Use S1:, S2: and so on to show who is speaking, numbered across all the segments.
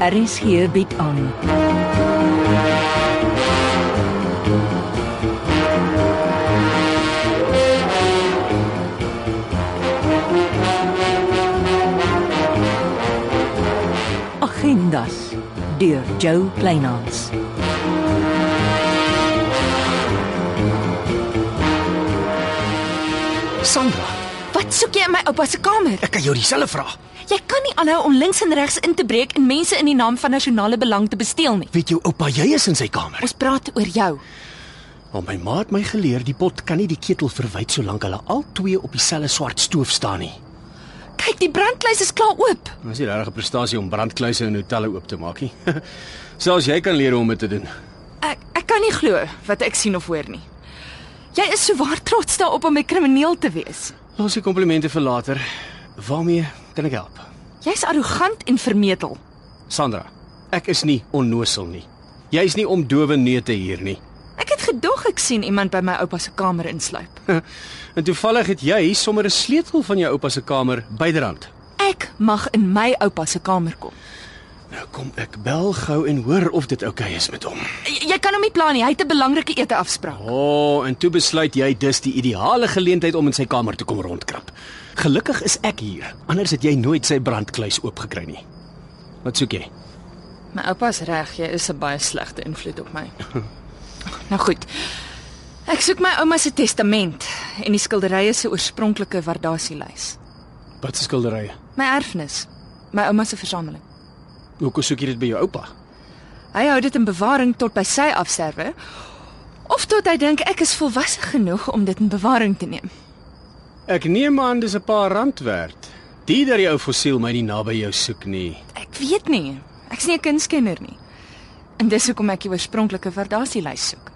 S1: Aris hier bied aan. Agendas deur Jo Kleinhans.
S2: Sandra,
S3: Wat soek jy in my oupa se kamer?
S2: ek kan jou dieselfde vra.
S3: Jy kan nie aanhou om links en regs in te breek en mense in die naam van nasionale belang te besteel nie.
S2: Weet jou oupa, jy is in sy kamer.
S3: Ons praat oor jou.
S2: Maar my ma het my geleer die pot kan nie die ketel verwyd solank hulle al twee op dieselfde swart stoof staan nie.
S3: Kyk, die brandkluis is klaar oop.
S2: Dis nie regtig 'n prestasie om brandkluise in hotelle oop te maak nie. Selfs jy kan leer hoe om dit te doen.
S3: Ek ek kan nie glo wat ek sien of hoor nie. Jy is so waar trots daarop om 'n krimineel te wees.
S2: Los die komplimente vir later. Waarmee kan ek help?
S3: Jy's arrogant en vermetel.
S2: Sandra, ek is nie onnosel nie. Jy's nie om dowe neute hier nie.
S3: Ek het gedog ek sien iemand by my oupa se kamer insluip.
S2: En toevallig het jy sommer 'n sleutel van jou oupa se kamer byderhand.
S3: Ek mag in my oupa se kamer kom.
S2: Nou kom ek bel gou en hoor of dit oukei okay is met hom.
S3: Jy, jy kan hom nie plan nie. Hy het 'n belangrike ete afspraak.
S2: O, oh, en toe besluit jy dis die ideale geleentheid om in sy kamer te kom rondkrap. Gelukkig is ek hier, anders het jy nooit sy brandkluis oopgekry nie. Wat soek jy?
S3: My oupa's reg, jy is 'n baie slegte invloed op my. nou goed. Ek soek my ouma se testament en die skilderye se oorspronklike waardasielys.
S2: Wat se skilderye?
S3: My erfenis, my ouma se versameling.
S2: Hoekom soek jy dit by jou oupa?
S3: Hy hou dit in bewaring tot by sy afsterwe of tot hy dink ek is volwasse genoeg om dit in bewaring te neem.
S2: Ek neem aan dis 'n paar rand werd. Die dat die ou fossiel my nie naby jou soek nie.
S3: Ek weet nie. Ek's nie 'n kunstkenner nie. En dis hoekom ek die oorspronklike waardasielys soek.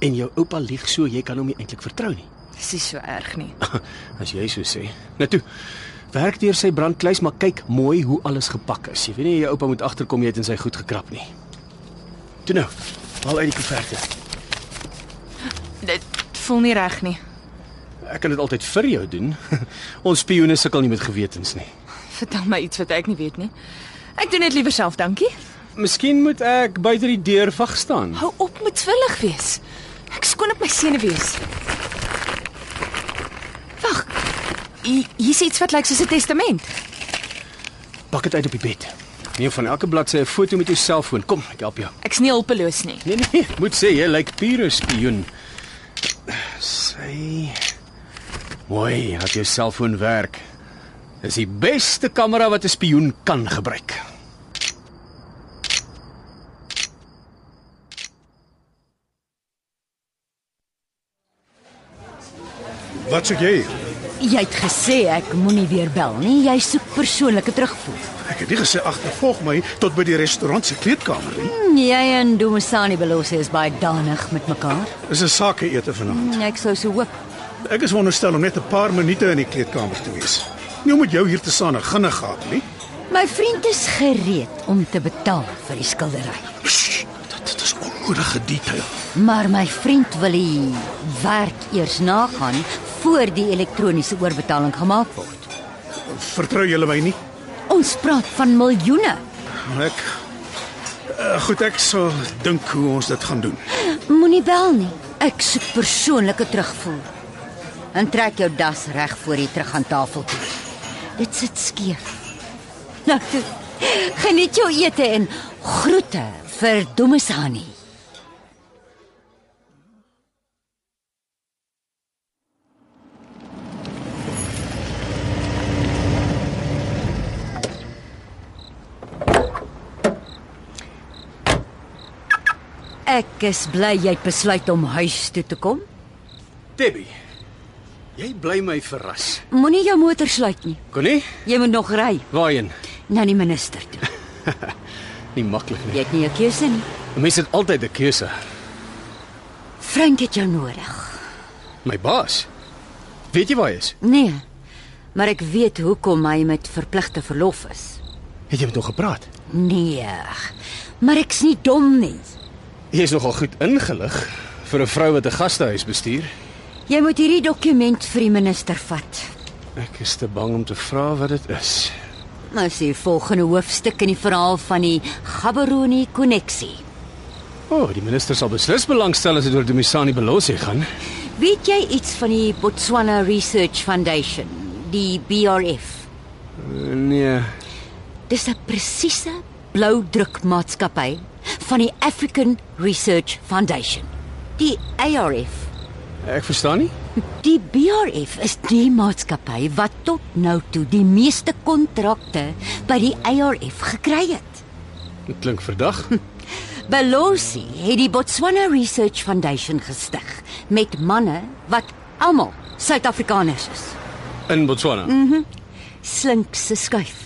S2: En jou oupa lieg so jy kan hom nie eintlik vertrou nie.
S3: Dis nie so erg nie.
S2: As jy so sê. Nou toe. Werk deur sy brandkluis, maar kyk mooi hoe alles gepak is. Jy weet nie jou oupa moet agterkom jy het in sy goed gekrap nie. Toe nou. Haal uit die koeverte.
S3: Dit voel nie reg nie.
S2: Ek kan dit altyd vir jou doen. Ons spioene sukkel nie met gewetens nie.
S3: Vertel my iets wat ek nie weet nie. Ek doen dit liewer self, dankie.
S2: Miskien moet ek buite die deur vag staan.
S3: Hou op met twillig wees. Ek skoon op my senuwees. Wag. Hi- Hier's iets wat lyk soos 'n testament.
S2: Pak dit uit op die bed. Neem van elke bladsy 'n foto met jou selfoon. Kom, ek help jou.
S3: Ek's nie hulpeloos nie.
S2: Nee nee, ek moet sê jy lyk pure spioen. Sy Mooi, het jou selfoon werk. Dis die beste kamera wat 'n spioen kan gebruik.
S4: Wat soek jy?
S1: Jy het gesê ek moenie weer bel nie. Jy soek persoonlike terugvoer.
S4: Ek het nie gesê agtervolg my tot by die restaurant se kleedkamer nie.
S1: Hm, Jy en Dumisani Belose is baie danig met mekaar.
S4: Dis 'n sakeete vanaand.
S1: Hm, Ek sou so hoop.
S4: Ek is wonderstel om net 'n paar minute in die kleedkamer te wees. Nie om met jou hier te staan en ginne gehad nie.
S1: My vriend is gereed om te betaal vir die skildery,
S4: Sst, dit, dit is onnodige detail.
S1: maar my vriend wil die werk eers nagaan voor die elektroniese oorbetaling gemaak word.
S4: Vertrou julle my nie?
S1: Ons praat van miljoene.
S4: Ek uh, goed, ek sal dink hoe ons dit gaan doen.
S1: Moenie bel nie. Ek soek persoonlike terugvoer. En trek jou das reg voor jy terug aan tafel toe. Dit sit skeef. Nou toe. Geniet jou ete en groete vir Domisani. Ek is bly jy het besluit om huis toe te kom.
S2: Debbie, jy bly my verras.
S1: Moenie jou motor sluit nie.
S2: Kon nie?
S1: Jy moet nog ry
S2: Waarheen?
S1: na die minister toe.
S2: Nie maklik nie.
S1: Jy het nie 'n keuse nie.
S2: Mense het altyd 'n keuse.
S1: Frank het jou nodig.
S2: My baas. Weet jy waar hy is?
S1: Nee. Maar ek weet hoekom hy met verpligte verlof is.
S2: Het jy met hom gepraat?
S1: Nee. Maar ek's nie dom nie.
S2: Jy is nogal goed ingelig vir 'n vrou wat 'n gastehuis bestuur.
S1: Jy moet hierdie dokument vir die minister vat.
S2: Ek is te bang om te vra wat dit is.
S1: Nou is die volgende hoofstuk in die verhaal van die Gaborone koneksie.
S2: O, oh, die minister sal beslis belangstel as dit oor Dumisani Belosi gaan.
S1: Weet jy iets van die Botswana Research Foundation, die BRF?
S2: Uh, nee.
S1: Dis 'n presiese blou drukmaatskappy van die African Research Foundation, die ARF.
S2: Ek verstaan nie.
S1: Die BRF is die maatskappy wat tot nou toe die meeste kontrakte by die ARF gekry het.
S2: Dit klink verdag.
S1: Belosi het die Botswana Research Foundation gestig met manne wat almal Suid-Afrikaners is.
S2: In Botswana. Mm.
S1: Slinkse skuif.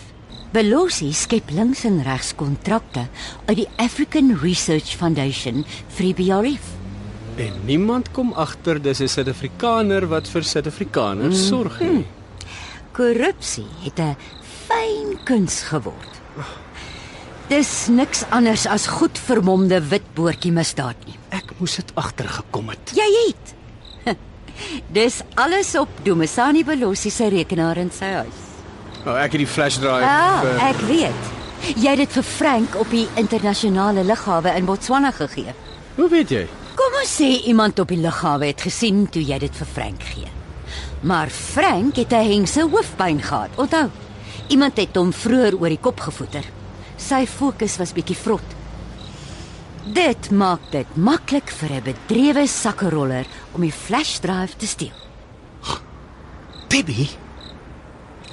S1: Belosi skep links en regs kontrakte uit die African Research Foundation vir die BRF.
S2: En niemand kom agter dis 'n Suid-Afrikaner wat vir Suid-Afrikaners mm. sorg nie.
S1: Korrupsie het 'n fyn kuns geword. Dis niks anders as goed vermomde witboortjie misdaad nie.
S2: Ek moes dit agtergekom het.
S1: Jy het. Dis alles op Domisani Belossi se rekenaar in sy huis.
S2: Nou, ek het die flash drive.
S1: Ja,
S2: eh,
S1: ek weet. Jy het dit vir Frank op die internasionale lughawe in Botswana gegee.
S2: Hoe weet jy?
S1: Kom ons sê iemand op die lughawe het gesien toe jy dit vir Frank gee. Maar Frank het 'n hengse hoofpyn gehad. Onthou, iemand het hom vroeër oor die kop gevoeter. Sy fokus was bietjie vrot. Dit maak dit maklik vir 'n bedrewe sakkeroller om die flashdrive te steel.
S2: Baby.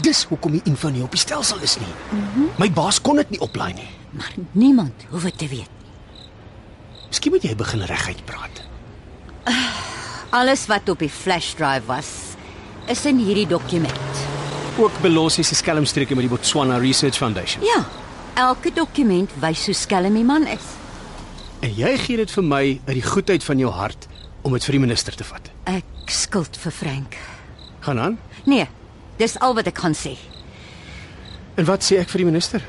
S2: Dis hoekom die info nie op die stelsel is nie. Mm -hmm. My baas kon dit nie oplaai nie.
S1: Maar niemand hoef dit te weet.
S2: Miskien moet jy begin reguit praat.
S1: Alles wat op die flashdrive was, is in hierdie dokument.
S2: Ook Belosi se skelmstreke met die Botswana Research Foundation.
S1: Ja, elke dokument wys hoe skelm die man is.
S2: En jy gee dit vir my uit die goedheid van jou hart om dit vir die minister te vat.
S1: Ek skuld vir Frank.
S2: Gaan aan.
S1: Nee, dis al wat ek kan sê.
S2: En wat sê ek vir die minister?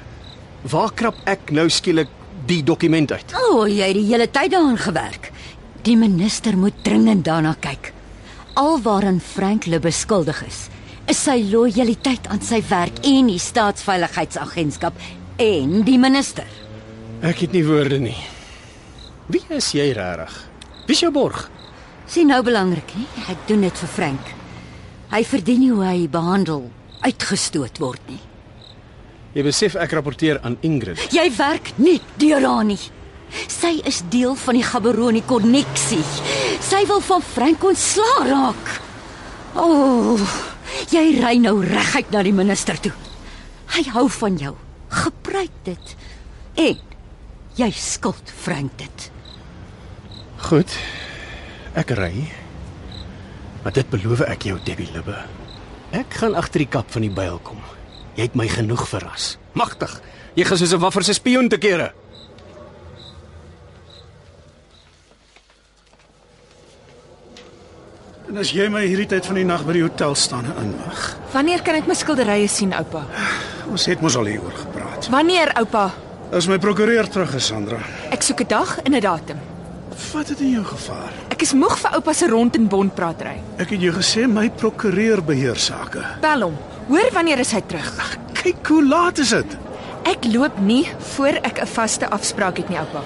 S2: Waar krap ek nou skielik die dokument uit?
S1: O, oh, jy het die hele tyd daaraan gewerk. Die minister moet dringend daarna kyk. Alwaaraan Frank le beskuldig is, is sy lojaliteit aan sy werk en die staatsveiligheidsagentskap en die minister.
S2: Ek het nie woorde nie. Wie is jy regtig? Wie is jou borg?
S1: Sien nou belangrik nie, ek doen dit vir Frank. Hy verdien nie hoe hy behandel, uitgestoot word nie.
S2: Jy besef ek rapporteer aan Ingrid.
S1: Jy werk nie deur haar nie. Sy is deel van die Gaborone koneksie. Sy wil van Frank ontslaa raak. O, oh, jy ry nou reguit na die minister toe. Hy hou van jou. Gebruik dit. En jy skuld Frank dit.
S2: Goed. Ek ry. Maar dit beloof ek jou, Debbie Libbe. Ek gaan agter die kap van die byl kom. Jy het my genoeg verras. Magtig. Jy gaan soos 'n waffer se spioen te kere.
S4: En as jy my hierdie tyd van die nag by die hotel staan en inwag.
S3: Wanneer kan ek my skilderye sien, oupa?
S4: Ons het mos al hieroor gepraat.
S3: Wanneer, oupa?
S4: As my prokureur terug is, Sandra.
S3: Ek soek 'n dag en 'n datum.
S4: Vat dit in jou gevaar.
S3: Ek is moeg vir oupa se rond en bond praatry.
S4: Ek het jou gesê my prokureur beheer sake.
S3: Bel hom. Hoor wanneer is hy terug?
S4: Kyk hoe laat is dit?
S3: Ek loop nie voor ek 'n vaste afspraak het nie, oupa.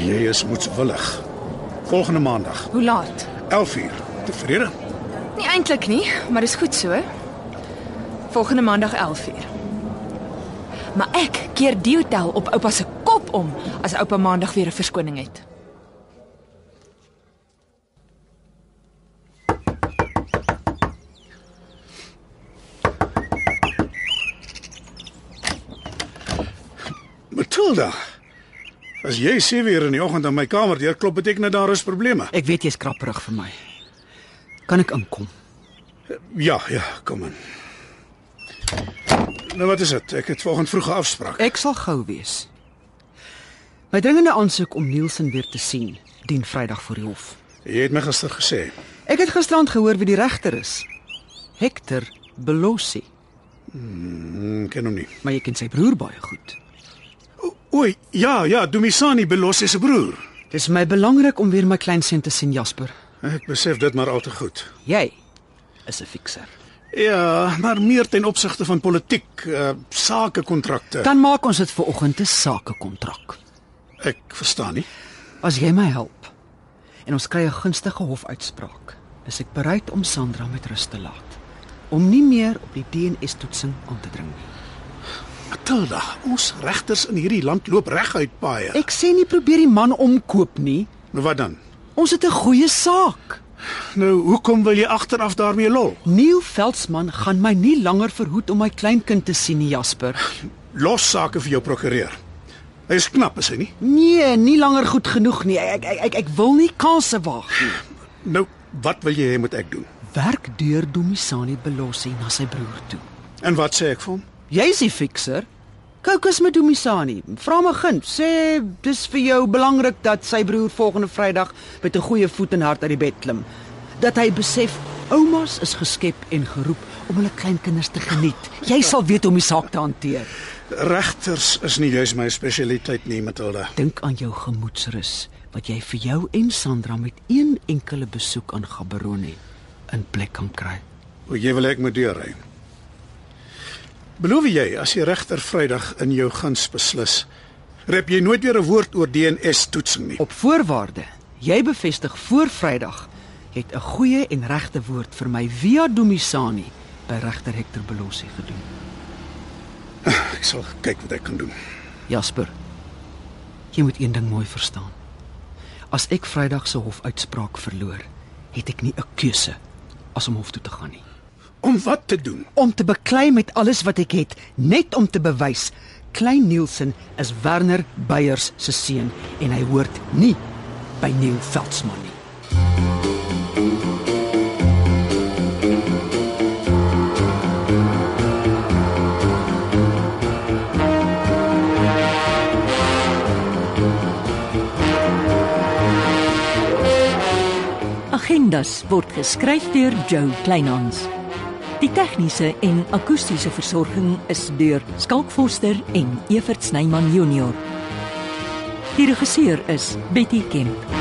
S4: Jy is moedswillig. Volgende maandag,
S3: Hoe laat?
S4: 11uur. Tevrede?
S3: Nie eintlik nie, maar dis goed so. Volgende maandag 11uur. Maar ek keer die hotel op oupa se kop om as oupa maandag weer 'n verskoning het.
S4: Matilda. As jy sê weer in die oggend aan my kamer deurklop, beteken dit daar is probleme.
S5: Ek weet jy's krapperig vir my. Kan ek inkom?
S4: Ja, ja, kom in. Nou wat is dit? Ek het vanoggend vroeg 'n afspraak.
S5: Ek sal gou wees. My dringende aansoek om Nielsen weer te sien dien Vrydag voor die hof.
S4: Jy het my gister gesê.
S5: Ek het gisterand gehoor wie die regter is. Hector Belosi,
S4: Hm, ken hom nie.
S5: maar jy ken sy broer baie goed.
S4: O, oei, ja, ja, Dumisani Belos is 'n broer.
S5: Dis my belangrik om weer my kleinseun te sien Jasper.
S4: Ek besef dit maar al te goed.
S5: Jy is 'n fikser.
S4: Ja, maar meer ten opsigte van politiek, uh, sakekontrakte.
S5: Dan maak ons dit vir oggend 'n sakekontrak.
S4: Ek verstaan nie.
S5: As jy my help en ons kry 'n gunstige hofuitspraak, is ek bereid om Sandra met rus te laat om nie meer op die DNS-toetsing aan te dring nie.
S4: Matilda, ons regters in hierdie land loop reguit paaie.
S5: Ek sê nie probeer die man omkoop nie.
S4: Nou wat dan?
S5: Ons het 'n goeie saak.
S4: Nou, hoekom wil jy agteraf daarmee lol?
S5: Neil Veldsmann gaan my nie langer verhoed om my kleinkind te sien nie, Jasper.
S4: Los sake vir jou prokureur. Hy is knap, is hy nie?
S5: Nee, nie langer goed genoeg nie. Ek ek ek, ek wil nie kansse waag nie.
S4: Nou, wat wil jy hê moet ek doen?
S5: Werk deur Domisani Belossi na sy broer toe.
S4: En wat sê ek vir hom?
S5: Jy's die fixer. Kookus met Domisani. Vra my guns. Sê dis vir jou belangrik dat sy broer volgende Vrydag met 'n goeie voet en hart uit die bed klim. Dat hy besef oumas is geskep en geroep om hulle kleinkinders te geniet. Jy sal weet hoe om die saak te hanteer.
S4: Regters is nie juis my spesialiteit nie, Matilda.
S5: Dink aan jou gemoedsrus wat jy vir jou en Sandra met een enkele besoek aan Gaberoni in plek kan kry.
S4: Hoe jy wil ek moet deurry. Beloof jy as die regter Vrydag in jou guns beslis, rep jy nooit weer 'n woord oor DNS toetsing nie.
S5: Op voorwaarde jy bevestig voor Vrydag jy het 'n goeie en regte woord vir my via Domisani by regter Hector Belossi gedoen.
S4: Ek sal kyk wat ek kan doen.
S5: Jasper, jy moet een ding mooi verstaan. As ek Vrydag se hofuitspraak verloor, het ek nie 'n keuse as om hof toe te gaan nie.
S4: Om wat te doen?
S5: Om te beklei met alles wat ek het, net om te bewys Klein Nielsen is Werner Beyers se seun en hy hoort nie by Neil Veldsmann nie.
S6: Agendas word geskryf deur Joe Kleinhans. Die tegniese en akoestiese versorging is deur Skalk Forster en Evert Snyman Junior. Die regisseur is Betty Kemp.